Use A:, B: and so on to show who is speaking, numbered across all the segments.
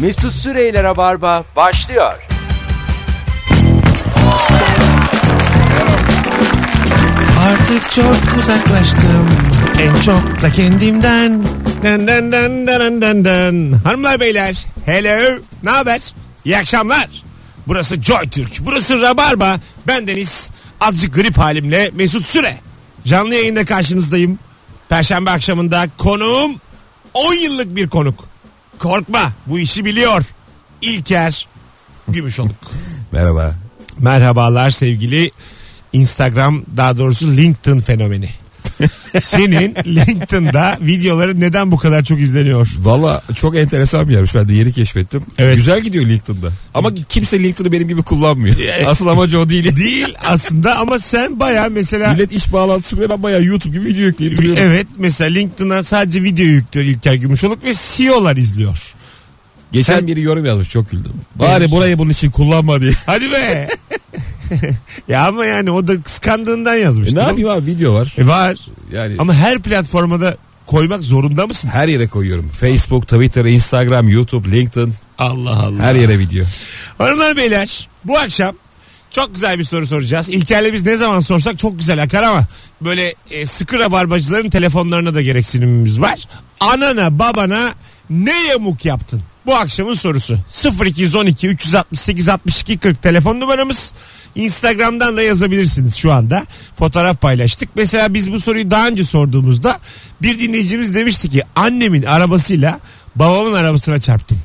A: Mesut Süreyler'e barba başlıyor.
B: Artık çok uzaklaştım en çok da kendimden.
C: Den den den den den den den. Hanımlar beyler. Hello. Ne haber? İyi akşamlar. Burası Joy Türk. Burası Rabarba. Ben Deniz. Azıcık grip halimle Mesut Süre. Canlı yayında karşınızdayım. Perşembe akşamında konuğum 10 yıllık bir konuk. Korkma bu işi biliyor. İlker Gümüşoluk.
B: Merhaba.
C: Merhabalar sevgili Instagram daha doğrusu LinkedIn fenomeni. Senin LinkedIn'da videoların neden bu kadar çok izleniyor?
B: Valla çok enteresan bir yermiş ben de yeni keşfettim.
C: Evet.
B: Güzel gidiyor LinkedIn'da. Ama kimse LinkedIn'i benim gibi kullanmıyor. Asıl amacı o değil.
C: Değil aslında ama sen baya mesela
B: Millet iş bağlantısı bile ben bayağı YouTube gibi video yükleyip duruyorum.
C: evet mesela LinkedIn'a sadece video yüklüyor İlker Gümüşoluk ve CEO'lar izliyor.
B: Geçen
C: Sen-
B: biri yorum yazmış çok güldüm. Bari burayı bunun için kullanma diye.
C: Hadi be. ya ama yani o da kıskandığından yazmış.
B: E ne yapayım abi video var.
C: E var.
B: Yani
C: Ama her platformada koymak zorunda mısın?
B: her yere koyuyorum. Facebook, Twitter, Instagram, YouTube, LinkedIn
C: Allah Allah.
B: her yere video.
C: Hanımlar beyler bu akşam çok güzel bir soru soracağız. İlker'le biz ne zaman sorsak çok güzel akar ama böyle e, sıkı rabarbacıların telefonlarına da gereksinimimiz var. Anana babana ne yamuk yaptın? Bu akşamın sorusu 0212 368 62 40 telefon numaramız. Instagram'dan da yazabilirsiniz şu anda. Fotoğraf paylaştık. Mesela biz bu soruyu daha önce sorduğumuzda bir dinleyicimiz demişti ki annemin arabasıyla babamın arabasına çarptım.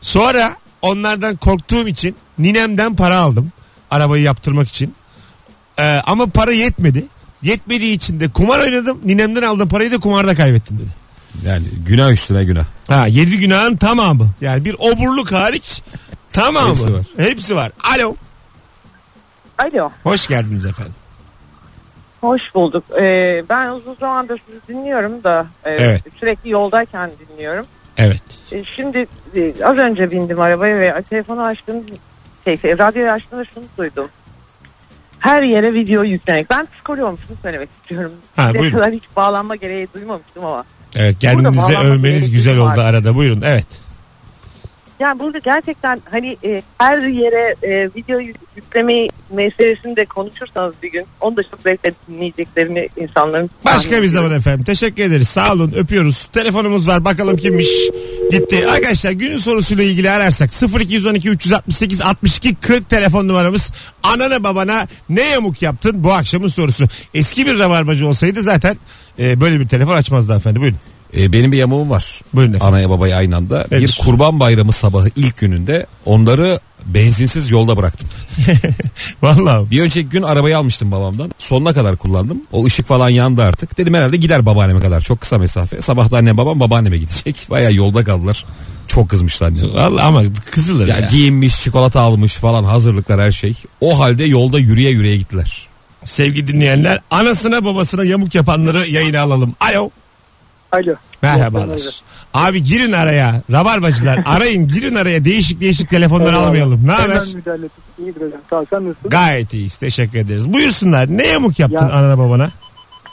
C: Sonra onlardan korktuğum için ninemden para aldım. Arabayı yaptırmak için. Ee, ama para yetmedi. Yetmediği için de kumar oynadım. Ninemden aldığım parayı da kumarda kaybettim dedi.
B: Yani günah üstüne günah.
C: Ha yedi günahın tamamı. Yani bir oburluk hariç tamamı.
B: Hepsi var.
C: Hepsi var. Alo.
D: Alo,
C: Hoş geldiniz efendim.
D: hoş bulduk. Ee, ben uzun zamandır sizi dinliyorum da e,
C: Evet.
D: sürekli yoldayken dinliyorum.
C: Evet.
D: E, şimdi e, az önce bindim arabaya ve telefonu açtım, şey, şey, radyoyu açtım ve şunu duydum. Her yere video yüklemek. Ben psikoloğum şunu söylemek istiyorum.
C: Ha,
D: Şimdiye
C: buyurun.
D: kadar hiç bağlanma gereği duymamıştım ama.
C: Evet
D: Burada
C: kendinize
D: bağlanmak
C: övmeniz
D: gerekli
C: güzel oldu
D: var.
C: arada. Buyurun evet.
D: Yani burada gerçekten hani e, her yere e, video yük- yüklemeyi meselesini de konuşursanız bir gün onu da çok zevkle dinleyeceklerini insanların
C: Başka bir
D: tahmin
C: zaman efendim. Teşekkür ederiz. Sağ olun. Öpüyoruz. Telefonumuz var. Bakalım kimmiş. Gitti. Arkadaşlar günün sorusuyla ilgili ararsak 0212 368 62 40 telefon numaramız. Anana babana ne yamuk yaptın bu akşamın sorusu. Eski bir rabarbacı olsaydı zaten e, böyle bir telefon açmazdı efendim. Buyurun.
B: E, benim bir yamuğum var.
C: Buyurun efendim.
B: Anaya babaya aynı anda.
C: Evet.
B: Bir kurban bayramı sabahı ilk gününde onları benzinsiz yolda bıraktım.
C: Vallahi.
B: Bir önceki gün arabayı almıştım babamdan. Sonuna kadar kullandım. O ışık falan yandı artık. Dedim herhalde gider babaanneme kadar. Çok kısa mesafe. Sabah da annem babam babaanneme gidecek. Baya yolda kaldılar. Çok kızmıştı annem.
C: Vallahi ama kızılır
B: Ya
C: ya.
B: giyinmiş, çikolata almış falan hazırlıklar her şey. O halde yolda yürüye yürüye gittiler.
C: Sevgili dinleyenler anasına babasına yamuk yapanları yayına alalım. Alo.
E: Alo.
C: Merhabalar. Abi girin araya. Rabarbacılar arayın girin araya. Değişik değişik telefonları
E: Merhaba.
C: almayalım. Ne haber?
E: Hemen müdahale ettim. İyidir hocam. Sağ ol. Sen nasılsın?
C: Gayet iyiyiz. Teşekkür ederiz. Buyursunlar. Ne yamuk yaptın
E: Ya-
C: anana babana?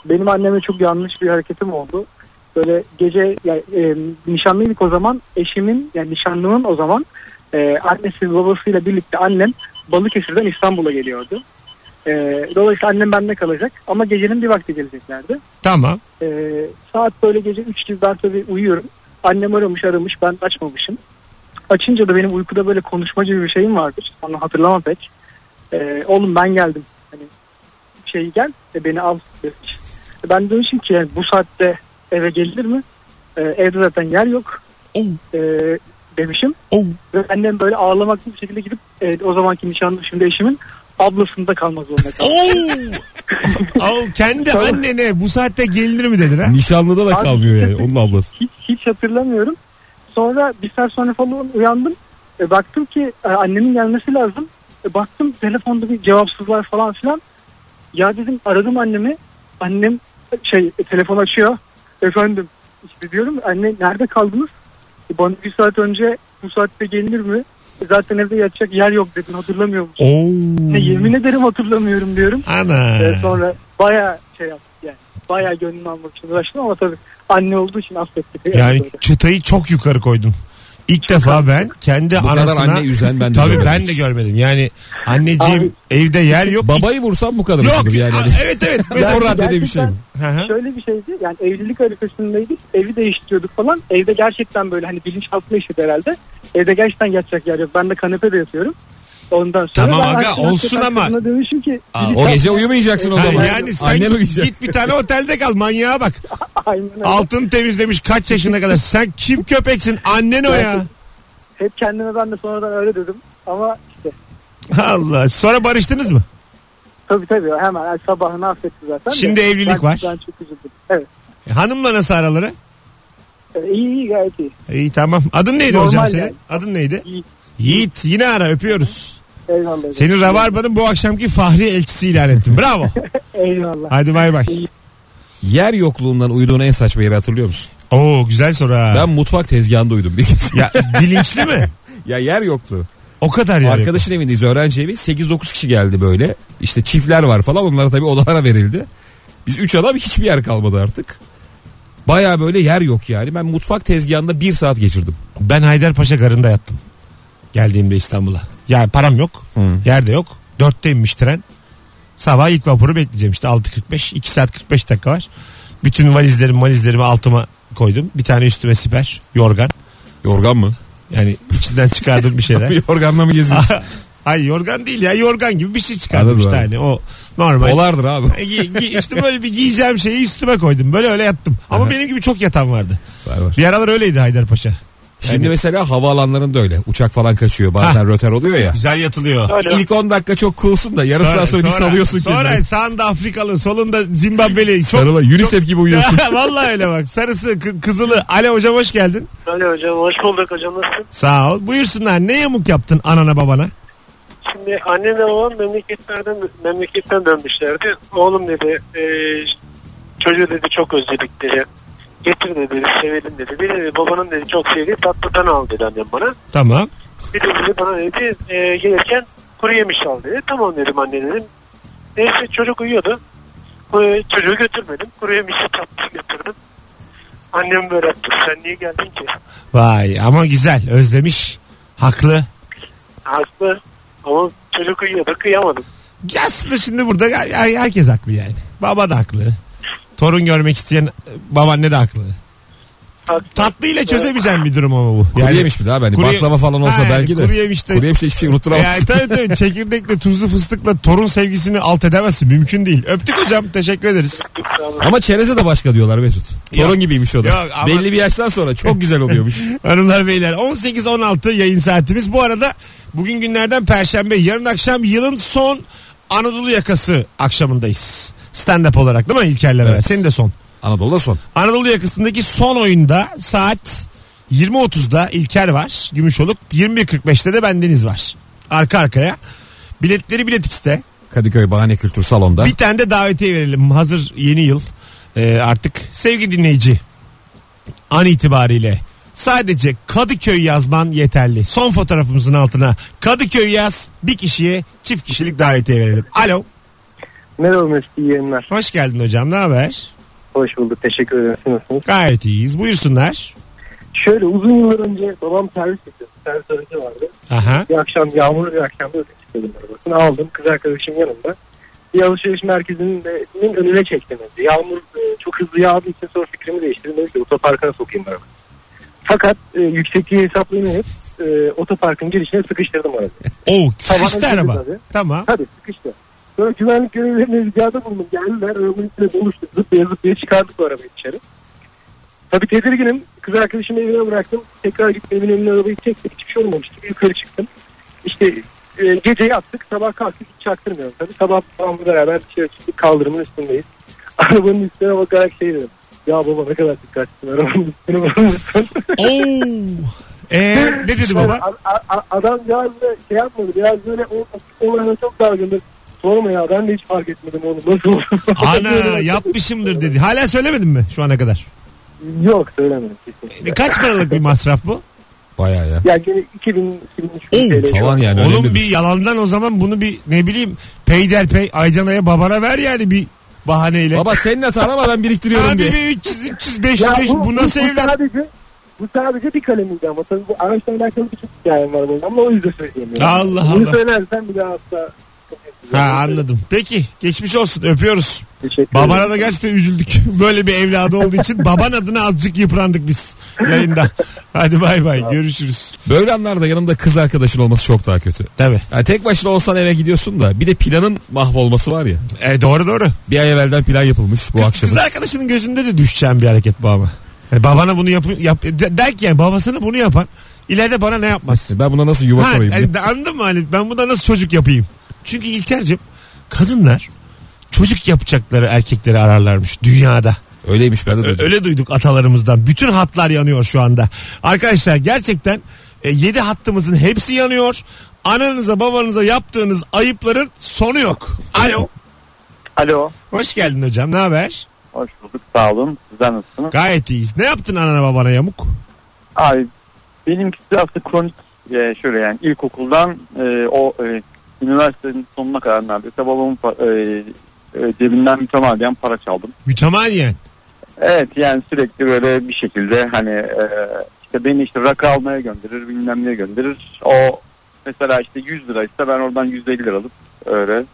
E: Benim anneme çok yanlış bir hareketim oldu. Böyle gece yani, e, nişanlıydık o zaman. Eşimin yani nişanlımın o zaman e, annesi babasıyla birlikte annem Balıkesir'den İstanbul'a geliyordu. E, dolayısıyla annem bende kalacak ama gecenin bir vakti geleceklerdi.
C: Tamam.
E: E, saat böyle gece 3 gibi ben tabii uyuyorum. Annem aramış aramış ben açmamışım. Açınca da benim uykuda böyle konuşma gibi bir şeyim vardır. Onu hatırlamam pek. E, oğlum ben geldim. Hani şey gel e, beni al demiş. E, ben demişim ki yani bu saatte eve gelir mi? E, evde zaten yer yok.
C: Oo.
E: E, demişim.
C: Oo.
E: Ve annem böyle ağlamak gibi bir şekilde gidip e, o zamanki nişanlım şimdi eşimin ablasında kalmak zorunda kaldı.
C: Oo. Al kendi
E: Tamam.
C: annene bu saatte gelinir mi dedin ha?
B: Nişanlıda da
E: Abi-
B: kalmıyor yani onun ablası.
E: hiç, hiç hatırlamıyorum. Sonra bir saat sonra falan uyandım. E, baktım ki e, annemin gelmesi lazım. E, baktım telefonda bir cevapsızlar falan filan. Ya dedim aradım annemi. Annem e, şey e, telefon açıyor. Efendim işte diyorum anne nerede kaldınız? E, bana bir saat önce bu saatte gelinir mi? E, zaten evde yatacak yer yok dedin hatırlamıyor musun?
C: Oo.
E: Ne, yemin ederim hatırlamıyorum diyorum.
C: Ana.
E: E, sonra baya şey yaptık yani. Baya Ee, gönlümü almak için uğraştım ama tabii anne olduğu için affettik.
C: Yani çıtayı çok yukarı koydun. İlk defa ben kendi
B: Bu kadar
C: anasına...
B: anne üzen ben de
C: Tabii
B: görmedim
C: ben de
B: hiç.
C: görmedim. Yani anneciğim
E: Abi-
C: evde yer yok.
B: Babayı vursam bu kadar.
C: Yok.
B: üzülür yani. Hani
C: Aa, evet evet.
B: o
C: Mesela...
B: raddede bir şey mi?
C: Hı hı.
E: Şöyle bir şeydi yani evlilik arifesindeydik evi değiştiriyorduk falan evde gerçekten böyle hani bilinçaltı işi herhalde evde gerçekten yatacak yer yok ben de kanepede yatıyorum ondan sonra
C: Tamam
E: ben
C: aga,
E: akşam
C: olsun
E: hakikaten
C: ama-
E: kadına demişim ki
C: Aa,
B: O gece uyumayacaksın o
C: Ha,
B: zaman.
C: yani sen
B: Annen
C: git,
B: uyuyacak.
C: git bir tane otelde kal manyağa bak.
E: aynen öyle.
C: Altın temizlemiş kaç yaşına kadar. Sen kim köpeksin? Annen o ya.
E: hep kendime ben de sonradan öyle dedim ama işte
C: Allah. Sonra barıştınız mı?
E: tabii tabii hemen yani sabahını affetti zaten de.
C: Şimdi evlilik
E: Ben-
C: var.
E: ben çok üzüldüm evet
C: E, Hanımla nasıl araları?
E: Ee, iyi iyi gayet iyi
C: İyi tamam. Adın neydi
E: Normal
C: hocam senin?
E: yani.
C: Adın neydi?
E: Yiğit.
C: Yiğit. Yine ara öpüyoruz.
E: eyvallah
C: Senin Rabarba'nın bu akşamki Fahri elçisi ilan ettim. Bravo.
E: eyvallah
C: Hadi bay bay.
B: Yer yokluğundan uyuduğun en saçma yeri hatırlıyor musun?
C: Oo güzel soru ha.
B: Ben mutfak tezgahında uyudum bir gece.
C: Ya bilinçli mi?
B: ya yer yoktu.
C: O kadar yani.
B: Arkadaşın evindeyiz öğrenci evi. 8-9 kişi geldi böyle. İşte çiftler var falan. Onlara tabii odalara verildi. Biz 3 adam hiçbir yer kalmadı artık. Baya böyle yer yok yani. Ben mutfak tezgahında 1 saat geçirdim.
C: Ben Haydarpaşa garında yattım. Geldiğimde İstanbul'a. Yani param yok.
B: Hı.
C: Yerde yok. Dörtte inmiş tren. Sabah ilk vapuru bekleyeceğim işte 6.45. 2 saat 45 dakika var. Bütün valizlerimi valizlerimi altıma koydum. Bir tane üstüme siper. Yorgan.
B: Yorgan mı?
C: Yani içinden çıkardım bir şeyler.
B: Yorganla mı
C: Ah,
B: geziyorsun?
C: Ay yorgan değil ya yorgan gibi bir şey çıkardım
B: Anladım
C: işte
B: abi.
C: hani o normal.
B: Polardır abi.
C: E, gi- gi- işte böyle bir giyeceğim şeyi üstüme koydum. Böyle öyle yattım. Ama
B: Aha.
C: benim gibi çok yatan vardı.
B: Var var.
C: Bir aralar öyleydi Haydarpaşa.
B: Şimdi
C: Yani-
B: mesela havaalanlarında öyle. Uçak falan kaçıyor. Bazen röter oluyor ya.
C: Güzel yatılıyor.
B: İlk 10 dakika çok coolsun da yarım saat sonra, bir salıyorsun
C: sonra
B: kendini.
C: sağında Afrikalı, solunda Zimbabweli. Çok-
B: Sarıla UNICEF gibi uyuyorsun.
C: Vallahi öyle bak. Sarısı, kı- kızılı. Ale hocam hoş geldin.
F: Öyle Hani hocam hoş bulduk hocam nasılsın?
C: Sağ ol. Buyursunlar. Ne yamuk yaptın anana babana?
F: Şimdi annemle babam memleketlerden memleketten dönmüşlerdi. Oğlum dedi e, çocuğu dedi çok özledik dedi. Getir dedi sevelim dedi. Bir dedi babanın dedi çok sevdiği tatlıdan al dedi annem bana.
C: Tamam.
F: Bir de dedi bana dedi e, gelirken kuru yemiş al dedi. Tamam dedim anne dedim. Neyse çocuk uyuyordu. E, çocuğu götürmedim. Kuru yemişi tatlı götürdüm. Annem böyle yaptı. Sen niye geldin ki?
C: Vay ama güzel. Özlemiş. Haklı.
F: Haklı. Ama çocuk uyuyordu kıyamadım.
C: Aslında şimdi burada her- her- herkes haklı yani. Baba da haklı. Torun görmek isteyen e, babaanne de haklı.
F: Haklı.
C: Tatlıyla çözemeyeceğim bir durum ama bu.
B: Kuru yemiş mi daha hani
C: kuru-
B: baklava falan olsa
C: Ha yani
B: belki de.
C: kuru yemiş de-
B: Kuru yemişle hiçbir şey
C: Yani
B: unutturamazsın.
C: tabii tabii çekirdekle tuzlu fıstıkla torun sevgisini alt edemezsin. Mümkün değil. Öptük hocam. Teşekkür ederiz.
B: Ama çereze de başka diyorlar Mesut. Torun
C: Yok.
B: gibiymiş o da.
C: Yok ama-
B: Belli bir yaştan sonra çok güzel oluyormuş.
C: Hanımlar beyler 18-16 yayın saatimiz. Bu arada bugün günlerden perşembe yarın akşam yılın son Anadolu yakası akşamındayız. Stand up olarak değil mi İlker'le beraber?
B: Evet.
C: Senin de son.
B: Anadolu'da son.
C: Anadolu yakasındaki son oyunda saat 20.30'da İlker var. Gümüşoluk 21.45'te de bendeniz var. Arka arkaya. Biletleri Bilet X'te.
B: Kadıköy Bahane Kültür Salon'da.
C: Bir tane de davetiye verelim. Hazır yeni yıl Ee, artık. Sevgili dinleyici an itibariyle sadece Kadıköy yazman yeterli. Son fotoğrafımızın altına Kadıköy yaz bir kişiye çift kişilik davetiye verelim. Alo.
G: Merhaba Mesut iyi yayınlar.
C: Hoş geldin hocam ne haber?
G: Hoş bulduk teşekkür ederim. Siz nasılsınız?
C: Gayet iyiyiz buyursunlar.
G: Şöyle uzun yıllar önce babam servis yapıyordu. Servis aracı vardı.
C: Aha.
G: Bir akşam yağmurlu bir akşamda öyle çıkıyordum arabasını. Aldım kız arkadaşım yanımda. Bir alışveriş merkezinin de- nin önüne çektim. önce. Yağmur e, çok hızlı yağdığı için sonra fikrimi değiştirdim. Dedim ki otoparkına sokayım arabayı. Fakat e, yüksekliği hesaplayamayıp e, otoparkın girişine sıkıştırdım arabayı.
C: Oo sıkıştı
G: Tavana girdi
C: araba.
G: tabii.
C: Tamam.
G: Tabii sıkıştı. Sonra güvenlik görevlilerine ricada bulundum. Geldiler arabanın içine buluştuk. Zıplaya zıplaya çıkardık o arabayı dışarı. Tabii tedirginim. Kız arkadaşımı evine bıraktım. Tekrar gittim evin önüne arabayı çektik. Hiçbir şey olmamıştı. Yukarı çıktım. İşte e, gece yattık. Sabah kalktık. Hiç çaktırmıyorum tabii. Sabah babamla beraber dışarı çıktık. Kaldırımın üstündeyiz. Arabanın üstüne bakarak şey dedim. Ya baba ne kadar dikkatlisin arabanın üstüne bakmışsın.
C: Oo. Ee, ne dedi baba?
G: A- a- a- adam biraz da şey yapmadı. Biraz böyle o, o olayına çok dargındır. Sorma ya ben de hiç fark etmedim onu. Nasıl oldu?
C: Ana yapmışımdır dedi. Hala söylemedin mi şu ana kadar?
G: Yok söylemedim. kesin.
C: E, Kaç paralık bir masraf bu?
B: Bayağı ya.
G: Ya gene 2000
C: Oo,
G: 2003 TL.
B: Tavan yani
C: Oğlum
B: önemli.
C: bir yalandan o zaman bunu bir ne bileyim peyderpey Aydana'ya babana ver yani bir bahaneyle.
B: Baba senin hatan ama ben biriktiriyorum
C: Abi
B: diye.
C: bir 300, 300, 500, 500 bu, nasıl evlat?
G: Sadece, Bu sadece bir kalemiydi ama tabii bu araçla alakalı bir çok hikayem var benim ama o yüzden söyleyemiyorum.
C: Allah
G: Bunu
C: Allah.
G: söylersen bir daha asla
C: Ha anladım. Peki geçmiş olsun öpüyoruz.
G: Teşekkür
C: Babana da gerçekten üzüldük. Böyle bir evladı olduğu için baban adına azıcık yıprandık biz yayında. Hadi bay bay görüşürüz.
B: Böyle anlarda yanında kız arkadaşın olması çok daha kötü.
C: Tabii.
B: Yani tek başına olsan eve gidiyorsun da bir de planın mahvolması var ya.
C: E, doğru doğru.
B: Bir ay evvelden plan yapılmış bu
C: Kız-
B: akşam.
C: Kız arkadaşının gözünde de düşeceğim bir hareket bu ama. Yani babana bunu yap, yap de- der ki yani babasına bunu yapan ileride bana ne yapmaz.
B: Ben buna nasıl yuva
C: Ha,
B: kurayım diye.
C: yani de- anladın mı hani ben buna nasıl çocuk yapayım? Çünkü İlker'cim kadınlar çocuk yapacakları erkekleri ararlarmış dünyada.
B: Öyleymiş ben de
C: Ö-
B: duydum.
C: Öyle duyduk atalarımızdan. Bütün hatlar yanıyor şu anda. Arkadaşlar gerçekten 7 hattımızın hepsi yanıyor. Ananıza babanıza yaptığınız ayıpların sonu yok. Alo.
H: Alo.
C: Hoş geldin hocam. Ne haber?
H: Hoş bulduk. Sağ olun. Sizden nasılsınız?
C: Gayet iyiyiz. Ne yaptın anana babana yamuk?
H: Abi benimkisi aslında kronik e, şöyle yani ilkokuldan e, o e, üniversitenin sonuna kadar neredeyse babamın pa- e, e, cebinden mütemadiyen para çaldım.
C: Mütemadiyen.
H: Evet yani sürekli böyle bir şekilde hani e, işte beni işte rakı almaya gönderir bilmem neye gönderir. O mesela işte 100 liraysa ben oradan 150 lira alıp öyle.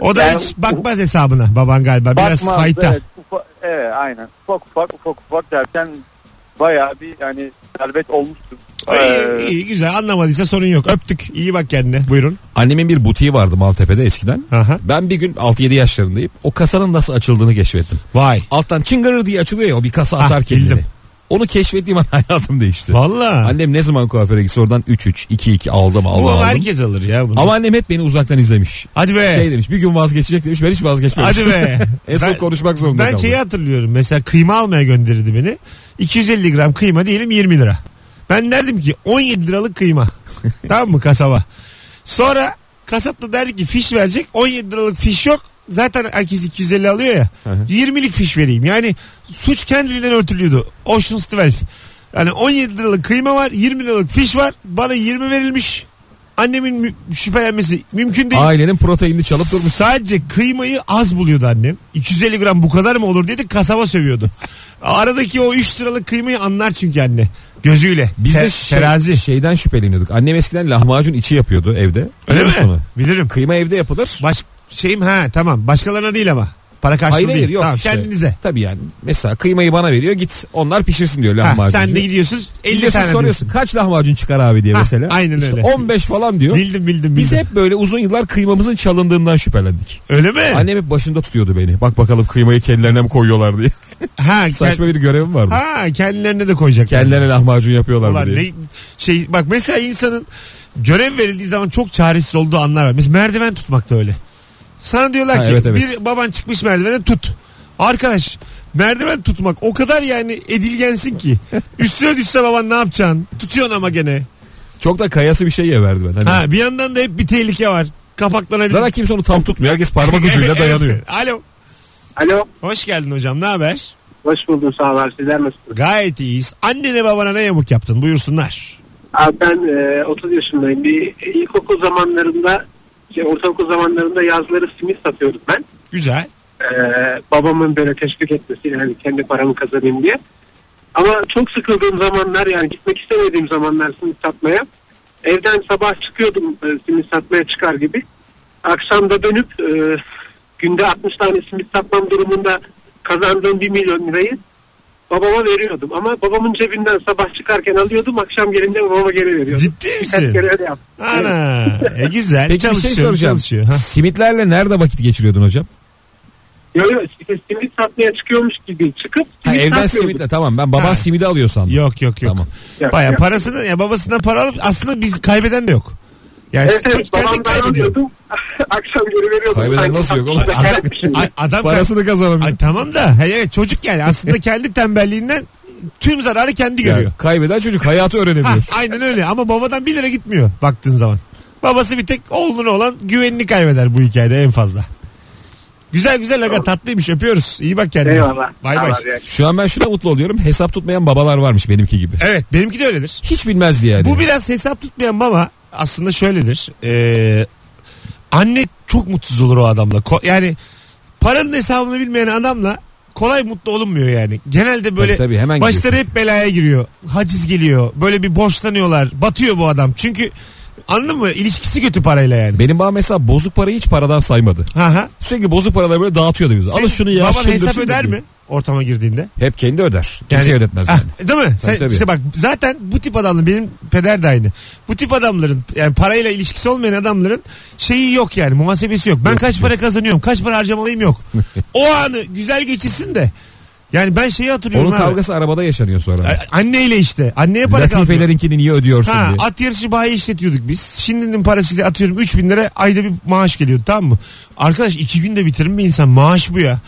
C: O da
H: Yani-
C: hiç bakmaz hesabına baban galiba. Biraz
H: Bakmaz,
C: fayta.
H: Evet, ufa- evet aynen. Ufak ufak ufak ufak derken bayağı bir yani servet olmuştum. Ee,
C: İyi, iyi, güzel anlamadıysa sorun yok. Öptük. İyi bak kendine. Buyurun.
B: Annemin bir butiği vardı Maltepe'de eskiden.
C: Aha.
B: Ben bir gün 6-7 yaşlarındayım. O kasanın nasıl açıldığını keşfettim.
C: Vay.
B: Alttan çıngırır diye açılıyor ya o bir kasa
C: Ah,
B: atar kendini.
C: bildim.
B: Onu keşfettiğim an hayatım değişti.
C: Valla.
B: Annem ne zaman kuaföre gitse oradan 3-3, 2-2 aldım aldım
C: Bu
B: aldım.
C: herkes alır ya bunu.
B: Ama annem hep beni uzaktan izlemiş.
C: Hadi be.
B: Şey E, demiş bir gün vazgeçecek demiş ben hiç vazgeçmemişim.
C: Hadi be.
B: en son
C: Ben-
B: konuşmak zorunda
C: Ben
B: kaldım.
C: şeyi hatırlıyorum. Mesela kıyma almaya gönderirdi beni. 250 gram kıyma diyelim 20 lira. Ben derdim ki 17 liralık kıyma. tamam mı kasaba? Sonra kasap da derdi ki fiş verecek. 17 liralık fiş yok. Zaten herkes 250 alıyor ya.
B: Hı hı.
C: 20'lik fiş vereyim. Yani suç kendiliğinden örtülüyordu. Ocean's 12. Yani 17 liralık kıyma var, 20 liralık fiş var. Bana 20 verilmiş. Annemin mü- şüphelenmesi mümkün değil.
B: Ailenin proteinini çalıp durmuş.
C: Sadece kıymayı az buluyordu annem. 250 gram bu kadar mı olur dedi kasaba sövüyordu. Aradaki o 3 liralık kıymayı anlar çünkü anne. Gözüyle.
B: Biz de
C: Te-
B: şey-
C: terazi.
B: şeyden şüpheleniyorduk. Annem eskiden lahmacun içi yapıyordu evde.
C: Öyle
B: Biliyor
C: mi?
B: musun onu?
C: Bilirim.
B: Kıyma evde yapılır.
C: Baş şeyim ha tamam. Başkalarına değil ama. Para karşılığı
B: Hayır
C: değil.
B: hayır yok
C: tamam,
B: işte.
C: kendinize.
B: Tabii yani. Mesela kıymayı bana veriyor git onlar pişirsin diyor
C: Ha,
B: lahmacun.
C: sen de gidiyorsun 50
B: Gidiyorsun
C: tane
B: soruyorsun kaç lahmacun çıkar abi diye
C: Ha,
B: mesela.
C: aynen
B: İşte
C: öyle.
B: 15 falan diyor.
C: diyorsun. Bildim bildim bildim.
B: Biz hep böyle uzun yıllar kıymamızın çalındığından şüphelendik.
C: Öyle mi?
B: Annem hep başında tutuyordu beni. Bak bakalım kıymayı kendilerine mi koyuyorlar diye.
C: ha, kend-
B: Saçma bir görevim vardı.
C: ha kendilerine de koyacak.
B: Kendilerine lahmacun yapıyorlar mı
C: Ulan
B: diye.
C: ne şey bak mesela insanın görev verildiği zaman çok çaresiz olduğu anlar var. Mesela merdiven tutmak da öyle. Sana diyorlar
B: Ha,
C: ki
B: evet, evet.
C: bir baban çıkmış merdivene tut. Arkadaş merdiven tutmak o kadar yani edilgensin ki. Üstüne düşse baban ne yapacaksın? Tutuyorsun ama gene.
B: Çok da kayası bir şey ye verdi ben. Hani
C: Ha bir yandan da hep bir tehlike var. Kapaklanabilir.
B: Zaten kimse onu tam tutmuyor. Herkes parmak ucuyla
C: Evet,
B: dayanıyor.
C: evet. Alo.
G: Alo.
C: Hoş geldin hocam. Ne haber?
G: Hoş buldum sağ olun. Sizler nasılsınız?
C: Gayet iyiyiz. Annene babana ne yamuk yaptın? Buyursunlar.
G: Abi ben e, 30 yaşındayım. Bir ilkokul zamanlarında, şey, ortaokul zamanlarında yazları simit satıyordum ben.
C: Güzel.
G: E, babamın böyle teşvik etmesiyle hani kendi paramı kazanayım diye. Ama çok sıkıldığım zamanlar yani gitmek istemediğim zamanlar simit satmaya. Evden sabah çıkıyordum e, simit satmaya çıkar gibi. Akşam da dönüp e, günde 60 tane simit satmam durumunda kazandığım 1 milyon lirayı babama veriyordum. Ama babamın cebinden sabah çıkarken alıyordum akşam gelince babama geri veriyordum.
C: Ciddi
G: Birkaç
C: misin?
G: kere öyle yaptım.
C: Ana. E güzel.
B: Peki bir şey
C: Çalışıyor,
B: soracağım.
C: çalışıyor. Ha.
B: Simitlerle nerede vakit geçiriyordun hocam?
G: Yok yok işte simit satmaya çıkıyormuş gibi çıkıp
B: Ha,
G: simit
B: evden
G: satmıyorduk.
B: simitle tamam ben baban
C: Ha.
B: simidi alıyor sandım.
C: Yok yok yok.
B: Tamam.
G: Yok,
C: Baya
G: yok.
C: parasını ya babasından para alıp aslında biz kaybeden de yok. Yani
G: Evet evet
C: çocuk kendi
G: babamdan
C: kaybediyor.
G: alıyordum. Akşam geri veriyordum.
B: Kaybeden
G: Sanki
B: nasıl yok oğlum?
G: tatlıda kaybetmişim.
C: Ay, adam Parası...
B: Parasını kazanamıyor.
C: Ay, tamam da hey, evet, çocuk yani aslında kendi tembelliğinden tüm zararı kendi
B: Yani
C: görüyor.
B: kaybeden çocuk hayatı
C: Ha,
B: öğrenemiyor.
C: aynen öyle ama babadan 1 lira gitmiyor baktığın zaman. Babası bir tek oğluna olan güvenini kaybeder bu hikayede en fazla. Güzel güzel aga tatlıymış öpüyoruz. İyi bak kendine.
G: Eyvallah.
C: Bay bay.
G: Allah razı olsun.
B: Şu an ben şuna mutlu oluyorum. Hesap tutmayan babalar varmış benimki gibi.
C: Evet benimki de öyledir.
B: Hiç bilmezdi yani.
C: Bu biraz hesap tutmayan baba aslında şöyledir. Ee, anne çok mutsuz olur o adamla. Ko- yani paranın hesabını bilmeyen adamla kolay mutlu olunmuyor yani. Genelde böyle
B: tabii, hemen
C: başları
B: gidiyorsun.
C: hep belaya giriyor. Haciz geliyor. Böyle bir borçlanıyorlar. Batıyor bu adam. Çünkü anladın mı? İlişkisi kötü parayla yani.
B: Benim babam mesela bozuk parayı hiç paradan saymadı.
C: Ha ha.
B: Sürekli bozuk paraları böyle dağıtıyordu bize. Alın
C: Senin
B: şunu ya.
C: Baban
B: şunu da,
C: hesap
B: şunu da
C: öder
B: diyor.
C: mi? Ortama girdiğinde.
B: Hep kendi öder. Kimseye ödetmez
C: Ah,
B: yani.
C: değil mi? Sen,
B: tabii.
C: işte bak zaten bu tip adamların benim peder de aynı. Bu tip adamların yani parayla ilişkisi olmayan adamların şeyi yok yani muhasebesi yok. Ben kaç para kazanıyorum kaç para harcamalıyım yok. o anı güzel geçirsin de. Yani ben şeyi hatırlıyorum
B: Onun
C: abi.
B: kavgası arabada yaşanıyor sonra.
C: A- Anneyle işte. Anneye para kazanıyor.
B: Latifelerinkini niye ödüyorsun
C: Ha,
B: diye.
C: at yarışı bayi işletiyorduk biz. Şimdinin parasıyla atıyorum 3000 lira ayda bir maaş geliyordu tamam mı? Arkadaş iki günde bitirir mi insan? Maaş bu ya.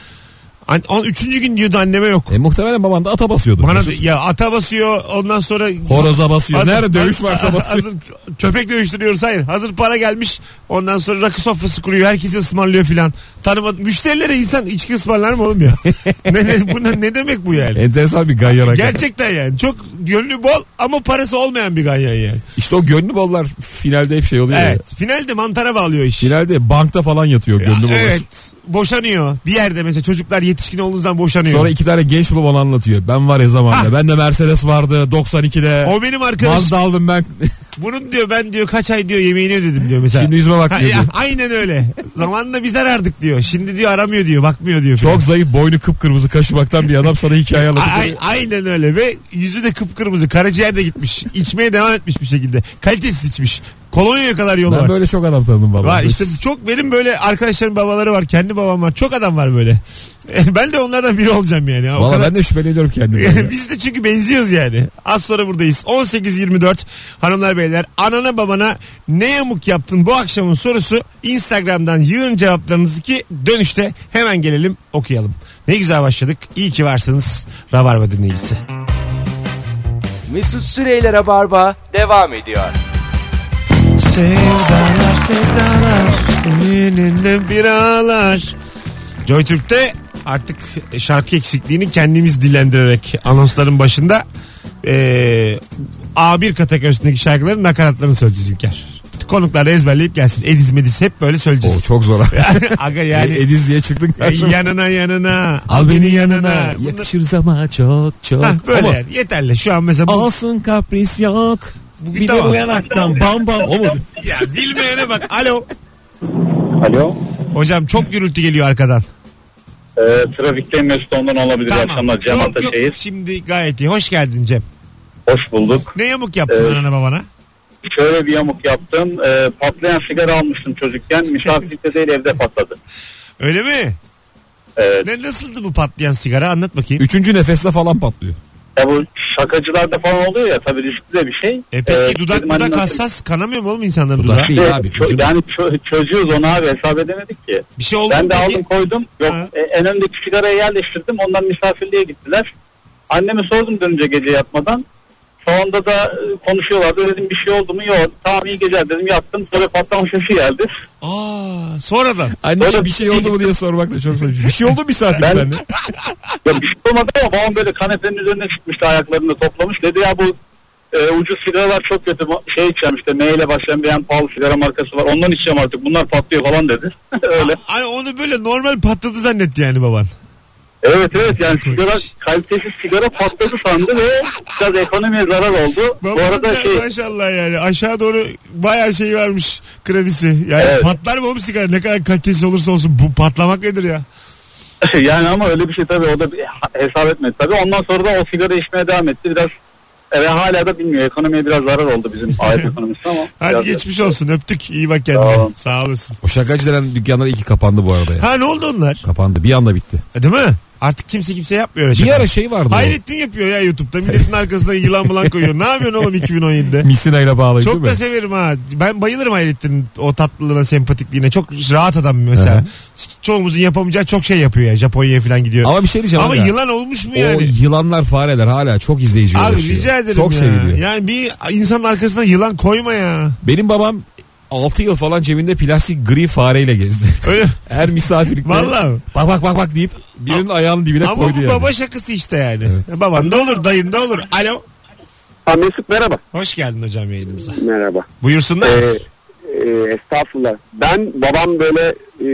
C: An- on, üçüncü gün diyordu anneme yok.
B: E, muhtemelen baban da ata basıyordu.
C: Bana ya ata basıyor ondan sonra
B: Horoza basıyor.
C: Hazır-
B: Nerede dövüş
C: hazır-
B: varsa basıyor.
C: Hazır köpek dövüştürüyoruz hayır. Hazır para gelmiş ondan sonra rakı sofrası kuruyor. Herkesi ısmarlıyor filan. Tanımadı. Müşterilere insan içki ısmarlar mı oğlum ya? ne, ne, bu, ne- ne demek bu yani?
B: Enteresan bir ganyan Gerçek...
C: Gerçekten yani. Çok gönlü bol ama parası olmayan bir ganyan yani.
B: İşte o gönlü bollar finalde hep şey oluyor. ya.
C: Evet. Finalde mantara bağlıyor iş.
B: Finalde bankta falan yatıyor gönlü bollar.
C: Evet. Boşanıyor. Bir yerde mesela çocuklar yetişkin olduğundan boşanıyor.
B: Sonra iki tane genç bana anlatıyor. Ben var ya
C: Ha.
B: zamanında. Ben de Mercedes vardı 92'de.
C: o benim arkadaşım.
B: Mazda aldım ben.
C: Bunun diyor ben diyor kaç ay diyor yemeğini ödedim diyor mesela.
B: Şimdi yüzüme bak
C: Ha,
B: diyor.
C: ya, aynen öyle. Zamanında biz arardık diyor. Şimdi diyor aramıyor diyor. Bakmıyor diyor.
B: Çok zayıf boynu kıpkırmızı kaşımaktan bir adam sana hikaye
C: A-
B: anlatıyor.
C: ay- aynen öyle ve yüzü de kıpkırmızı. Karaciğer de gitmiş. İçmeye devam etmiş bir şekilde. Kalitesiz içmiş. Kolonya'ya kadar yolu
B: Ben
C: var.
B: böyle çok adam tanıdım baba.
C: Var işte çok benim böyle arkadaşlarım babaları var. Kendi babam var. Çok adam var böyle. ben de onlardan biri olacağım yani. O
B: Valla
C: kadar-
B: ben de şüpheleniyorum kendimden. ya.
C: Biz de çünkü benziyoruz yani. Az sonra buradayız. 18.24 hanımlar beyler anana babana ne yamuk yaptın bu akşamın sorusu Instagram'dan yığın cevaplarınızı ki dönüşte hemen gelelim okuyalım. Ne güzel başladık. İyi ki varsınız. Rabarba dinleyicisi.
A: Mesut Süreyler'e barba devam ediyor.
C: Sevdalar sevdalar Yeninde bir ağlar Joy Türk'te artık şarkı eksikliğini kendimiz dilendirerek anonsların başında eee, A1 kategorisindeki şarkıların nakaratlarını söyleyeceğiz İlker. Konuklar da ezberleyip gelsin. Ediz mediz hep böyle
B: O
C: söyleyeceğiz.
B: çok zor. abi.
C: Aga yani e,
B: Ediz diye çıktın karşıma.
C: yanına yanına.
B: Al beni yanına.
C: Bunlar-
B: Yakışırız ama çok çok.
C: Hah, böyle
B: Ama
C: yani. yeterli. Şu an mesela bu,
B: Olsun kapris yok.
C: Bugün
B: bir de
C: tamam.
B: bu yanaktan bam bam. O mu?
C: ya bilmeyene bak. Alo.
H: Alo.
C: Hocam çok gürültü geliyor arkadan.
H: Ee, trafikte Mesut ondan olabilir akşamlar. Cem
C: Yok, yok.
H: Ataşehir.
C: Şimdi gayet iyi. Hoş geldin Cem.
H: Hoş bulduk.
C: Ne yamuk yaptın
H: Evet.
C: anana babana?
H: Şöyle bir yamuk yaptım. Ee, patlayan sigara almıştım çocukken. Misafirlikte değil evde patladı. Ee,
C: Öyle mi?
H: Evet.
C: Ne nasıldı bu patlayan sigara? Anlat bakayım.
B: Üçüncü nefeste falan patlıyor.
H: Ya e, bu şakacılarda falan oluyor ya tabii riskli de bir şey.
C: E peki
H: Ee,
C: dudak
H: dedim, hani
C: dudak
H: nasıl-
C: hassas kanamıyor mu oğlum insanların
B: Dudak
C: dudağı?
B: değil.
H: Evet,
B: abi,
H: çö-
B: ucunu-
H: yani çö- çözüyoruz onu abi hesap edemedik ki.
C: Bir şey oldu mu
H: Ben de
C: peki?
H: aldım koydum. Yok
C: Ha.
H: e, en öndeki sigarayı yerleştirdim. Ondan misafirliğe gittiler. Anneme sordum dönünce gece yatmadan. Sonunda da e, konuşuyorlardı. Dedim bir şey oldu mu? Yok. Tamam iyi geceler dedim. Yattım. Sonra patlama sesi geldi.
C: Aa, sonradan.
B: Anne
H: Böyle-
B: bir şey oldu mu diye sormak da çok saçma. Bir şey oldu mu misafirden?
H: Ben- Ya bir şey olmadı ama babam böyle kanepenin üzerine çıkmıştı. Ayaklarını da toplamış. Dedi ya bu e, ucuz sigaralar çok kötü. Bu- Şey içeceğim işte M ile başlayan bir en pahalı sigara markası var. Ondan içeceğim artık. Bunlar patlıyor falan dedi. Öyle.
C: Ay, onu böyle normal patladı zannetti yani baban.
H: Evet evet yani sigara kalitesiz sigara patladı sandı ve biraz ekonomiye zarar oldu. Bu
C: Babanın
H: arada
C: da
H: şey
C: maşallah yani aşağı doğru bayağı şey varmış kredisi. Yani
H: Evet.
C: patlar mı oğlum sigara ne kadar kalitesiz olursa olsun bu patlamak nedir ya?
H: yani ama öyle bir şey tabii o da bir hesap etmedi tabii. Ondan sonra da o sigara içmeye devam etti biraz ve hala da bilmiyor. Ekonomiye biraz zarar oldu bizim aile ekonomisi ama.
C: Hadi
H: biraz-
C: geçmiş olsun öptük iyi bak kendine.
H: Sağ olun.
C: Sağ olasın.
B: o şakacı denen dükkanlar iki kapandı bu arada ya.
C: Ha ne oldu onlar?
B: Kapandı. Bir anda bitti.
C: E, Değil mi? Artık kimse kimse yapmıyor. öyle
B: Bir
C: şaka.
B: ara şey vardı.
C: Hayrettin yapıyor ya YouTube'da. Milletin arkasına yılan bulan koyuyor. Ne yapıyorsun oğlum 2017'de?
B: o. Misina ile bağlayıp
C: Çok da
B: değil mi?
C: severim ha. Ben bayılırım Hayrettin'in o tatlılığına, sempatikliğine. Çok rahat adam mesela.
B: Aha.
C: Çoğumuzun yapamayacağı çok şey yapıyor ya. Japonya'ya falan gidiyor. Ama,
B: Ama bir şey diyeceğim. hala.
C: yılan olmuş mu
B: O
C: yani?
B: yılanlar fareler hala çok izleyici
C: Abi
B: ulaşıyor.
C: rica ederim
B: Çok
C: ya.
B: seviliyor.
C: Yani bir insanın arkasına yılan koyma ya.
B: Benim babam 6 yıl falan cebinde plastik gri fareyle gezdi.
C: Öyle.
B: Her misafirlikte.
C: Vallahi.
B: Bak bak bak bak deyip birinin ayağının dibine
C: Ama
B: koydu
C: bu
B: yani.
C: baba şakası işte yani. Baban da olur, dayın da olur. Alo.
I: Ha, Mesut merhaba.
C: Hoş geldin hocam yayınımıza.
I: Merhaba.
C: Buyursunlar.
I: Ee, e, estağfurullah. Ben babam böyle e,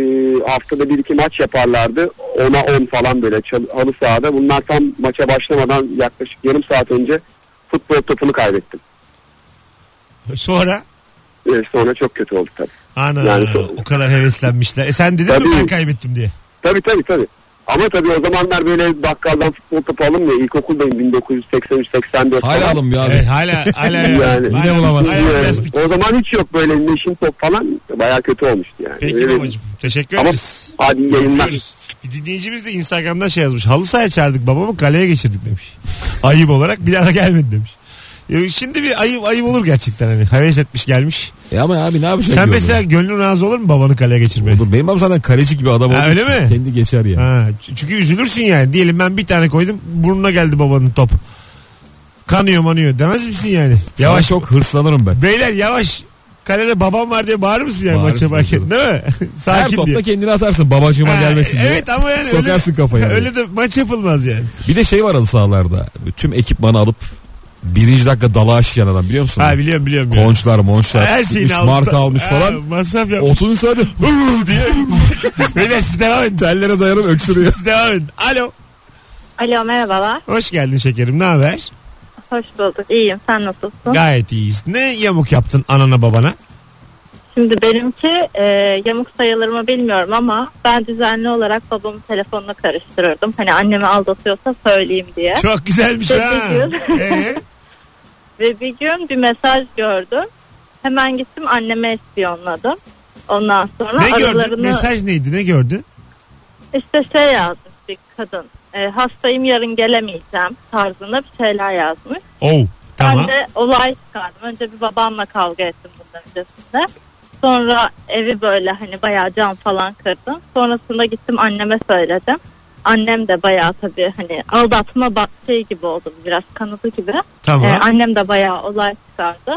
I: haftada bir iki maç yaparlardı. 10'a 10 falan böyle çal- halı sahada. Bunlar tam maça başlamadan yaklaşık yarım saat önce futbol topunu kaybettim.
C: Sonra
I: E, sonra çok kötü oldu tabii.
C: ana
I: Yani so-
C: o kadar heveslenmişler. E sen dedin mi
I: Tabii.
C: ben kaybettim diye.
I: Tabii tabii tabii. Ama tabii o zamanlar böyle bakkaldan futbol topu alınmıyor. İlkokuldayım 1983-84
B: Hala
I: falan.
B: alınmıyor abi.
C: Evet, hala hala
I: Yani.
C: yani.
I: Yine
B: bulamazsın.
C: Hala
I: Yani
C: plastik.
I: o zaman hiç yok böyle meşin top falan. Baya kötü olmuştu yani.
C: Peki
I: Öyle bir-
C: babacığım. Teşekkür
I: Ama
C: ederiz.
I: hadi iyi yayınlar.
C: Öpüyoruz. Bir dinleyicimiz de Instagram'da şey yazmış. Halı sahaya çağırdık babamı kaleye geçirdik demiş. Ayıp olarak bir daha da gelmedi demiş. Ya şimdi bir ayıp ayıp olur gerçekten hani. Heves etmiş gelmiş.
B: E ama abi ne yapacaksın?
C: Sen
B: ki
C: mesela gönlün razı olur mu babanı kaleye geçirmeye?
B: orada? Dur, benim babam zaten kaleci gibi adam
C: Ha,
B: olduğu
C: öyle
B: için
C: mi?
B: Kendi geçer ya.
C: Ha, ç- çünkü üzülürsün yani. Diyelim ben bir tane koydum burnuna geldi babanın top. Kanıyor manıyor demez misin yani?
B: Yavaş
C: Yavaş.
B: çok hırslanırım ben.
C: Beyler yavaş. Kalede babam var diye bağırır mısın yani
B: Bağırırsın
C: maça
B: canım.
C: varken değil mi?
B: Her
C: Sakin
B: topta
C: diye.
B: kendini atarsın babacığıma
C: Ha,
B: gelmesin diye.
C: evet ama yani
B: Sokarsın
C: öyle,
B: kafaya.
C: öyle de maç yapılmaz yani.
B: Bir de şey var halı sahalarda. Tüm ekipmanı alıp birinci dakika dalağa şişen adam biliyor musun?
C: Ha biliyorum biliyorum. biliyorum.
B: Konçlar monçlar.
C: Her şeyini
B: gitmiş,
C: almış.
B: marka almış
C: Ha,
B: falan.
C: masraf yapmış.
B: 30. saniye diye
C: Beyler siz devam edin.
B: tellere dayanıp öksürüyor.
C: Siz devam edin. Alo.
J: Alo merhabalar.
C: Hoş geldin şekerim. Ne haber?
J: Hoş bulduk. İyiyim. Sen nasılsın?
C: Gayet iyiyiz. Ne yamuk yaptın anana babana?
J: Şimdi benimki e, yamuk sayılır mı bilmiyorum ama ben düzenli olarak babamın telefonunu karıştırırdım. Hani annemi aldatıyorsa söyleyeyim diye.
C: Çok güzelmiş
J: Çok
C: ha.
J: güzel.
C: Ee?
J: Ve bir gün bir mesaj gördüm. Hemen gittim anneme espiyonladım. Ondan sonra
C: Ne gördün?
J: aralarını
C: Mesaj neydi? Ne gördün?
J: işte şey yazmış bir kadın. E, hastayım yarın gelemeyeceğim tarzında bir şeyler yazmış.
C: Oh. Tamam.
J: Ben de olay çıkardım. Önce bir babamla kavga ettim bundan öncesinde. Sonra evi böyle hani bayağı cam falan kırdım. Sonrasında gittim anneme söyledim. Annem de bayağı tabii hani aldatma ba- şey gibi oldu biraz kanadı gibi.
C: Tamam.
J: Ee, annem de bayağı olay çıkardı.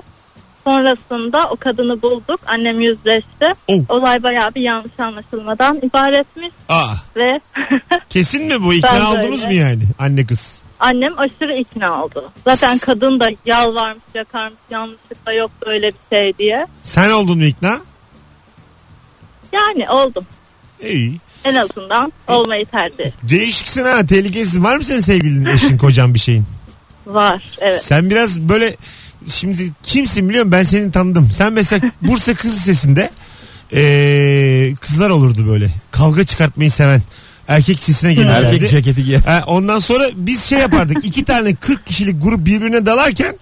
J: Sonrasında o kadını bulduk. Annem yüzleşti.
C: Oh.
J: Olay bayağı bir yanlış anlaşılmadan ibaretmiş
C: Aa,
J: ve
C: kesin mi bu? İkna
J: Ben de
C: oldunuz
J: öyle.
C: mu yani? Anne kız.
J: Annem aşırı ikna oldu. Zaten kadın da yalvarmış, yakarmış, yanlışlıkla yok böyle bir şey diye.
C: Sen oldun mu ikna?
J: Yani oldum.
C: İyi.
J: En azından olmayı tercih ettim.
C: Değişiksin ha. Tehlikelisin. Var mı senin sevgilin, eşin, kocan bir şeyin?
J: Var. Evet.
C: Sen biraz böyle şimdi kimsin biliyor musun? Ben seni tanıdım. Sen mesela Bursa Kız Lisesi'nde eee, kızlar olurdu böyle. Kavga çıkartmayı seven. Erkek lisesine gelirlerdi.
B: Erkek ceketi giyer.
C: Ha, ondan sonra biz şey yapardık. iki tane 40 kişilik grup birbirine dalarken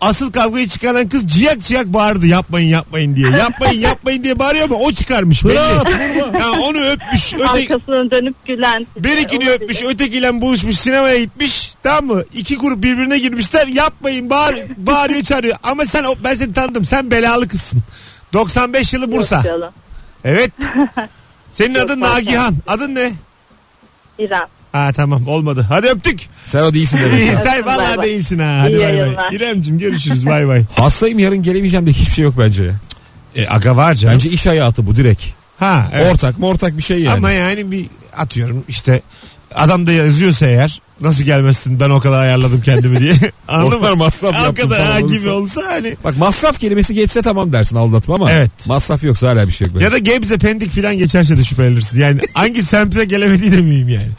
C: asıl kavgayı çıkaran kız ciyak ciyak bağırdı yapmayın yapmayın diye. Yapmayın yapmayın diye bağırıyor ama o çıkarmış belli. Ha, onu öpmüş. Öte,
J: Arkasına dönüp gülen.
C: Berikini
J: Olabilir.
C: öpmüş, ötekiyle buluşmuş, sinemaya gitmiş. Tamam mı? İki grup birbirine girmişler. Yapmayın, bağır, bağırıyor, çağırıyor. Ama sen o- ben seni tanıdım. Sen belalı kızsın. 95 yılı
J: Yok
C: Bursa.
J: canım.
C: Evet. Senin
J: Yok,
C: adın
J: ben
C: Nagihan. Adın ne?
J: İrem.
C: Ha tamam olmadı. Hadi öptük.
B: Sen o değilsin demek.
C: İyi,
B: ki.
C: sen
J: Bay
C: valla
J: bay.
C: değilsin ha. Hadi
J: İyi
C: bay bay.
J: yayınlar.
C: İremcim görüşürüz bay bay.
B: Hastayım yarın gelemeyeceğim de hiçbir şey yok bence. ya.
C: E, aga var canım.
B: Bence iş hayatı bu direkt.
C: Ha evet.
B: Ortak mı ortak bir şey yani.
C: Ama yani bir atıyorum işte adam da yazıyorsa eğer nasıl gelmezsin ben o kadar ayarladım kendimi diye. Anladın mı?
B: Ortak masraf
C: O
B: yaptım
C: kadar ha
B: falan
C: gibi
B: olursa.
C: olsa hani.
B: Bak masraf kelimesi geçse tamam dersin aldatma ama
C: Evet.
B: masraf yoksa hala bir şey yok. bence.
C: Ya da Gebze Pendik falan geçerse de şüphelenirsin. Yani hangi semte gelemediği de miyim yani.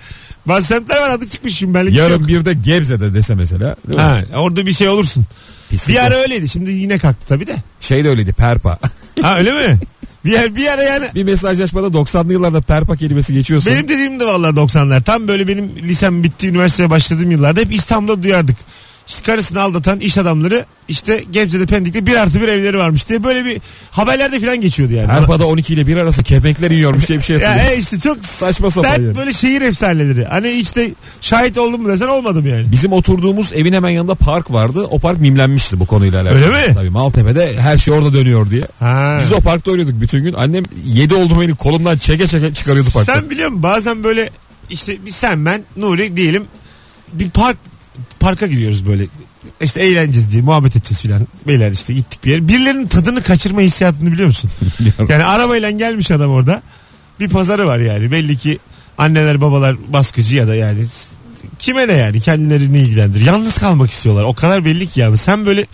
C: Bazı semtler var adı çıkmış şimdi benlik
B: Yarın
C: şey yok.
B: bir de Gebze'de dese mesela. Değil mi?
C: Ha, orada bir şey olursun.
B: Pislik
C: Bir
B: yok.
C: ara öyleydi şimdi yine kalktı tabii de.
B: Şey de öyleydi perpa.
C: Ha öyle mi? Bir, ara- bir ara yani
B: bir mesajlaşmada 90'lı yıllarda perpa kelimesi geçiyorsa.
C: Benim dediğim de vallahi 90'lar. Tam böyle benim lisem bitti, üniversiteye başladığım yıllarda hep İstanbul'da duyardık. İşte karısını aldatan iş adamları işte Gebze'de Pendik'te bir artı bir evleri varmış diye böyle bir haberlerde falan geçiyordu yani.
B: Perpa'da 12 ile 1 arası kepekler yiyormuş diye bir şey
C: Ya
B: hatırlıyorum.
C: e işte çok
B: Saçma
C: saçma
B: sapan
C: sert
B: yani.
C: böyle şehir efsaneleri. Hani işte şahit oldum mu desen olmadım yani.
B: Bizim oturduğumuz evin hemen yanında park vardı. O park mimlenmişti bu konuyla alakalı.
C: Öyle mi?
B: Tabii Maltepe'de her şey orada dönüyor diye.
C: Ha.
B: Biz o parkta oynuyorduk bütün gün. Annem 7 oldu beni kolumdan çeke çeke çıkarıyordu parkta.
C: Sen biliyor musun bazen böyle işte bir sen ben Nuri diyelim bir park parka gidiyoruz böyle işte eğleneceğiz diye muhabbet edeceğiz filan. Beyler işte gittik bir yere. Birilerinin tadını kaçırma hissiyatını biliyor musun?
B: Biliyorum.
C: yani arabayla gelmiş adam orada. Bir pazarı var yani. Belli ki anneler babalar baskıcı ya da yani s- kime ne yani kendilerini ilgilendir. Yalnız kalmak istiyorlar. O kadar belli ki yalnız. Sen böyle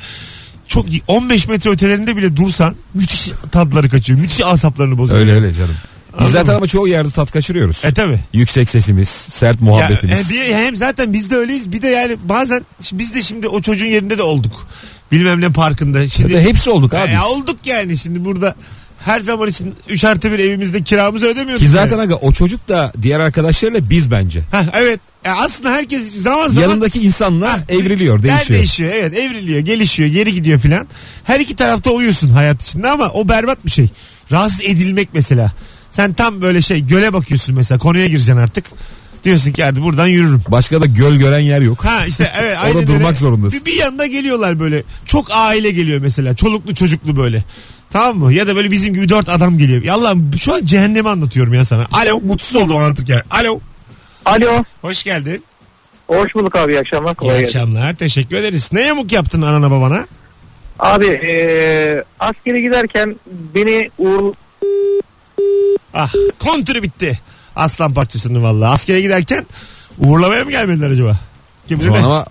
C: çok 15 metre ötelerinde bile dursan müthiş tadları kaçıyor. Müthiş asaplarını bozuyor.
B: Öyle öyle canım. Biz zaten ama çoğu yerde tat kaçırıyoruz.
C: E tabi.
B: Yüksek sesimiz, sert muhabbetimiz.
C: Ya, e, bir- hem zaten biz de öyleyiz. Bir de yani bazen şimdi biz de şimdi o çocuğun yerinde de olduk. Bilmem ne parkında. Şimdi
B: Ya da hepsi olduk
C: Ya
B: abi. biz.
C: olduk yani şimdi burada her zaman için 3 artı bir evimizde kiramızı ödemiyoruz.
B: Ki zaten
C: yani.
B: aga o çocuk da diğer arkadaşlarıyla biz bence.
C: Heh, evet. E, aslında herkes zaman zaman
B: Yanındaki insanla
C: Ha,
B: evriliyor,
C: yer
B: değişiyor.
C: değişiyor. Evet evriliyor, gelişiyor, geri gidiyor filan. Her iki tarafta uyuyorsun hayat içinde ama o berbat bir şey. Rahatsız edilmek mesela. Sen tam böyle şey göle bakıyorsun mesela konuya gireceksin artık. Diyorsun ki hadi buradan yürürüm.
B: Başka da göl gören yer yok.
C: Ha işte evet.
B: Orada
C: aynen
B: durmak
C: öyle.
B: zorundasın.
C: Bir, bir yanına geliyorlar böyle. Çok aile geliyor mesela. Çoluklu çocuklu böyle. Tamam mı? Ya da böyle bizim gibi dört adam geliyor. Ya Allah'ım şu an cehennemi anlatıyorum ya sana. Alo mutsuz oldum anlatırken. Alo.
G: Alo.
C: Hoş geldin.
G: Hoş bulduk abi. iyi akşamlar.
C: İyi
G: Kolay gelsin.
C: akşamlar. Teşekkür ederiz. Ne yamuk yaptın anana babana?
G: Abi eee askere giderken beni uğur...
C: Ah kontürü bitti. Aslan parçasını vallahi. Askere giderken uğurlamaya mı gelmediler acaba? Kim
B: O
C: bilir
B: zaman
C: ne?
B: ama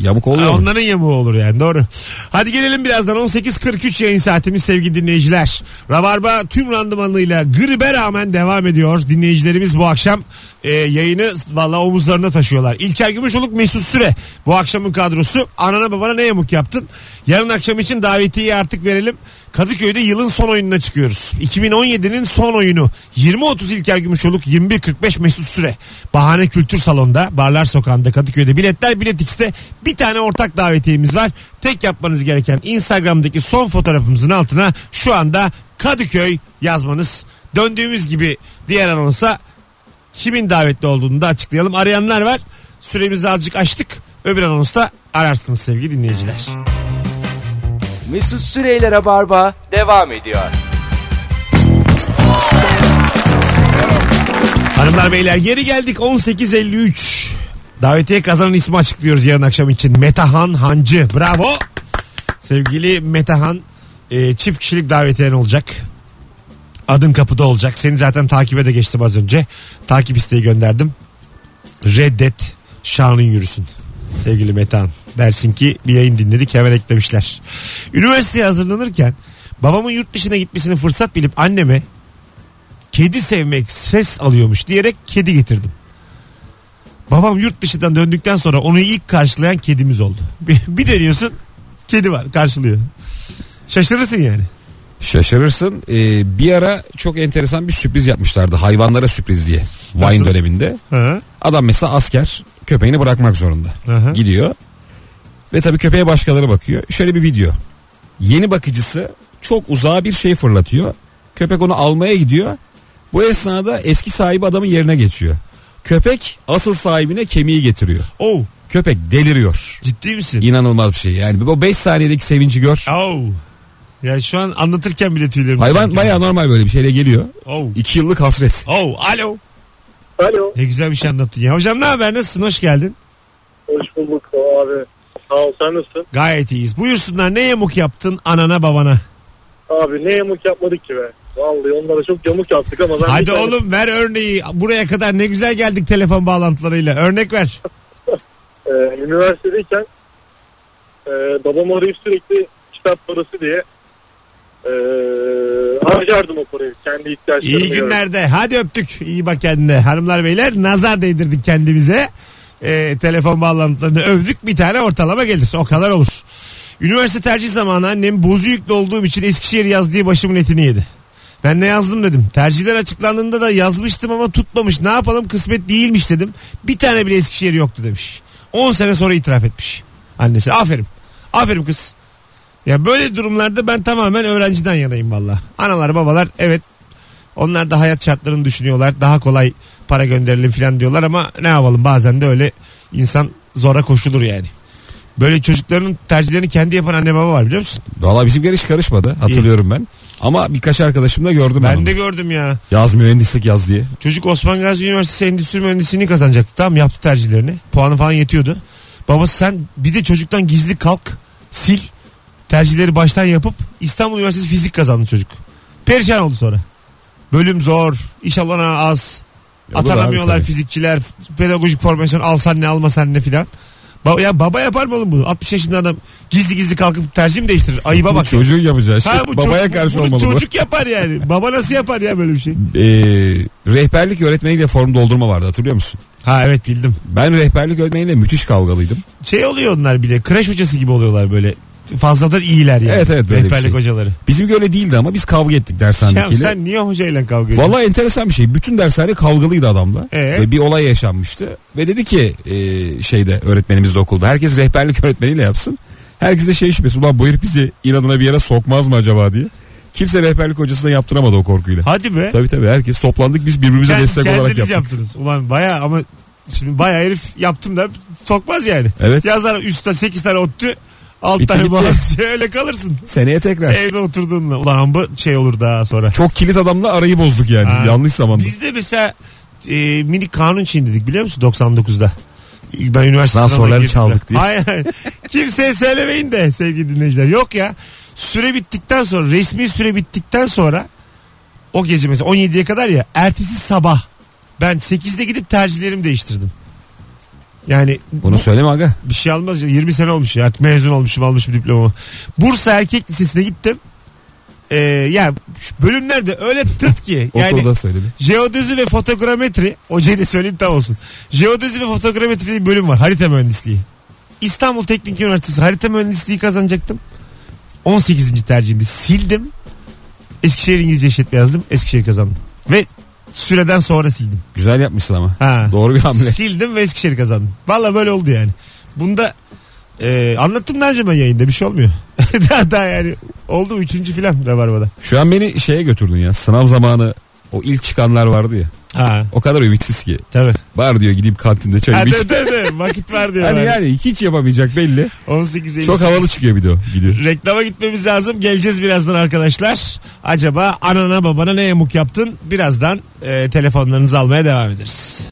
B: yamuk oluyor.
C: Ha,
B: mu?
C: Onların yamuğu olur yani doğru. Hadi gelelim birazdan 18.43 yayın saatimiz sevgili dinleyiciler. Rabarba tüm randımanıyla gribe rağmen devam ediyor. Dinleyicilerimiz bu akşam e, yayını valla omuzlarına taşıyorlar. İlker Gümüşoluk Mesut Süre bu akşamın kadrosu. Anana babana ne yamuk yaptın? Yarın akşam için davetiyeyi artık verelim. Kadıköy'de yılın son oyununa çıkıyoruz. 2017'nin son oyunu. 20.30 İlker Gümüşoluk, 21.45 Mesut Süre. Bahane Kültür Salonu'nda, Barlar Sokağı'nda Kadıköy'de biletler Bilet X'te bir tane ortak davetiyemiz var. Tek yapmanız gereken Instagram'daki son fotoğrafımızın altına şu anda Kadıköy yazmanız. Döndüğümüz gibi diğer anonsa kimin davetli olduğunu da açıklayalım. Arayanlar var. Süremizi azıcık açtık. Öbür anonsta ararsınız sevgili dinleyiciler.
A: Mesut Süreyler'e barba devam ediyor.
C: Hanımlar beyler geri geldik 18.53. Davetiye kazanan ismi açıklıyoruz yarın akşam için. Metahan Hancı. Bravo. Sevgili Metahan e, çift kişilik davetiyen olacak. Adın kapıda olacak. Seni zaten takibe de geçtim az önce. Takip isteği gönderdim. Reddet şanın yürüsün. Sevgili Metan dersin ki bir yayın dinledik hemen eklemişler. Üniversiteye hazırlanırken babamın yurt dışına gitmesini fırsat bilip anneme kedi sevmek ses alıyormuş diyerek kedi getirdim. Babam yurt dışından döndükten sonra onu ilk karşılayan kedimiz oldu. Bir, bir deniyorsun kedi var karşılıyor. Şaşırırsın yani.
B: Şaşırırsın. Ee, bir ara çok enteresan bir sürpriz yapmışlardı. Hayvanlara sürpriz diye.
C: Nasıl?
B: Wine döneminde.
C: Ha?
B: Adam mesela asker köpeğini bırakmak zorunda.
C: Aha.
B: Gidiyor. Ve tabii köpeğe başkaları bakıyor. Şöyle bir video. Yeni bakıcısı çok uzağa bir şey fırlatıyor. Köpek onu almaya gidiyor. Bu esnada eski sahibi adamın yerine geçiyor. Köpek asıl sahibine kemiği getiriyor.
C: Oh,
B: Köpek deliriyor.
C: ciddi misin?
B: İnanılmaz bir şey. Yani bu 5 saniyedeki sevinci gör.
C: Oh. Ya şu an anlatırken bile tüylerim.
B: Hayvan
C: diken
B: bayağı
C: diken.
B: normal böyle bir şeyle geliyor.
C: Oh.
B: 2 yıllık hasret.
C: Oh. Alo.
G: Alo.
C: Ne güzel bir şey anlattın ya. Hocam ne haber? Nasılsın? Hoş geldin.
G: Hoş bulduk abi. Sağ ol sen nasılsın?
C: Gayet iyiyiz. Buyursunlar ne yamuk yaptın anana babana.
G: Abi ne yamuk yapmadık ki be. Vallahi onlara çok yamuk yaptık ama ben... bir
C: Hadi
G: tane-
C: oğlum ver örneği. Buraya kadar ne güzel geldik telefon bağlantılarıyla. Örnek ver.
G: Ee, üniversitedeyken e, babam arayıp sürekli kitap parası diye e, harcardım o parayı. Kendi ihtiyaçlarımı.
C: İyi günlerde. Hadi öptük. İyi bak kendine. Hanımlar beyler nazar değdirdik kendimize. Ee, telefon bağlantılarını övdük. Bir tane ortalama gelir. O kadar olur. Üniversite tercih zamanı annem bozu yüklü olduğum için Eskişehir yaz diye başımın etini yedi. Ben ne yazdım dedim. Tercihler açıklandığında da yazmıştım ama tutmamış. Ne yapalım kısmet değilmiş dedim. Bir tane bile Eskişehir yoktu demiş. 10 sene sonra itiraf etmiş annesi. Aferin. Aferin kız. Ya böyle durumlarda ben tamamen öğrenciden yanayım valla. Analar babalar evet onlar da hayat şartlarını düşünüyorlar. Daha kolay para gönderelim falan diyorlar ama ne yapalım bazen de öyle insan zora koşulur yani. Böyle çocukların tercihlerini kendi yapan anne baba var biliyor musun?
B: Valla bizimkiler hiç karışmadı. Hatırlıyorum ben. Ama birkaç arkadaşım da gördüm ben,
C: Ben
B: onu.
C: de gördüm ya.
B: Yaz mühendislik yaz diye.
C: Çocuk Osman Gazi Üniversitesi Endüstri Mühendisliğini kazanacaktı. Tamam yaptı tercihlerini. Puanı falan yetiyordu. Babası sen bir de çocuktan gizli kalk sil tercihleri baştan yapıp İstanbul Üniversitesi fizik kazandı çocuk. Perişan oldu sonra. Bölüm zor, iş alana az,
B: Olur abi
C: atanamıyorlar
B: tabii.
C: fizikçiler, pedagojik formasyon alsan ne almasan ne filan. Ba- ya baba yapar mı oğlum bunu? 60 yaşında adam gizli gizli kalkıp tercih mi değiştirir? Ayıba
B: Bu
C: bak.
B: çocuğun yapacağı şey.
C: bu
B: Babaya
C: çocuk-
B: karşı
C: bunu
B: olmalı bu.
C: Çocuk yapar yani. Baba nasıl yapar ya böyle bir şey?
B: Ee, rehberlik öğretmeniyle form doldurma vardı hatırlıyor musun?
C: Ha evet bildim.
B: Ben rehberlik öğretmeniyle müthiş kavgalıydım.
C: Şey oluyor onlar bir de. Kreş hocası gibi oluyorlar böyle. Fazladan iyiler yani.
B: Evet, evet, böyle bir
C: Rehberlik
B: şey.
C: hocaları.
B: Bizimki öyle değildi ama biz kavga ettik
C: Ya
B: dershanedekiyle.
C: sen niye hocayla kavga ediyorsun?
B: Valla enteresan bir şey. Bütün dershane kavgalıydı adamla.
C: Ee?
B: Ve bir olay yaşanmıştı. Ve dedi ki e, şeyde öğretmenimiz de okulda. Herkes rehberlik öğretmeniyle yapsın. Herkes de şey şüphesi. Ulan bu herif bizi inadına bir yere sokmaz mı acaba diye. Kimse rehberlik hocasına yaptıramadı o korkuyla.
C: Hadi be.
B: Tabii tabii herkes toplandık biz birbirimize
C: Kend-
B: destek olarak
C: kendiniz
B: yaptık.
C: yaptınız. Ulan baya ama şimdi baya herif yaptım da sokmaz yani.
B: Evet.
C: Yazar üstten 8 tane ottu. 6
B: Bitti,
C: tane
B: gitti.
C: boğaz öyle kalırsın. Seneye
B: tekrar.
C: Evde oturduğunla. Ulan amba şey olur daha sonra.
B: Çok kilit adamla arayı bozduk yani
C: Ha.
B: yanlış zamanda.
C: Biz de mesela e, mini kanun çiğnedik biliyor musun 99'da. Ben üniversite
B: Sınav
C: sınavına
B: soruları
C: girdim
B: çaldık
C: de.
B: diye.
C: Hayır hayır. Kimseye söylemeyin de sevgili dinleyiciler. Yok ya. Süre bittikten sonra resmi süre bittikten sonra o gece mesela 17'ye kadar ya ertesi sabah ben 8'de gidip tercihlerimi değiştirdim. Yani
B: Bunu söyleme aga.
C: bir şey almaz. ya. 20 sene olmuş ya. Artık Mezun olmuşum almışım diplomamı. Bursa Erkek Lisesi'ne gittim. Ee, ya şu bölümler de öyle tırt ki. yani
B: Okulda söyledi.
C: Jeodezi ve fotogrametri. Hocayı da söyleyeyim tam olsun. Jeodezi ve fotogrametri diye bir bölüm var. Harita mühendisliği. İstanbul Teknik Üniversitesi harita mühendisliği kazanacaktım. 18. tercihimdi. Sildim. Eskişehir İngilizce işletme yazdım. Eskişehir kazandım. Ve süreden sonra sildim.
B: Güzel yapmışsın ama.
C: Ha.
B: Doğru bir hamle.
C: Sildim ve Eskişehir kazandım. Valla böyle oldu yani. Bunda e, anlattım daha önce ben yayında bir şey olmuyor. daha, daha yani oldu üçüncü filan Rabarba'da.
B: Şu an beni şeye götürdün ya. Sınav zamanı o ilk çıkanlar vardı ya.
C: Ha
B: O kadar ümitsiz ki.
C: tabii.
B: Var diyor gideyim kantinde çay
C: Ha,
B: iç.
C: tabii, tabii, tabii. Vakit var diyor.
B: Hani
C: bana.
B: yani hiç yapamayacak belli.
C: 18
B: Çok havalı çıkıyor bir de o. Gidiyor.
C: Reklama gitmemiz lazım. Geleceğiz birazdan arkadaşlar. Acaba anana babana ne yamuk yaptın? Birazdan e, telefonlarınızı almaya devam ederiz.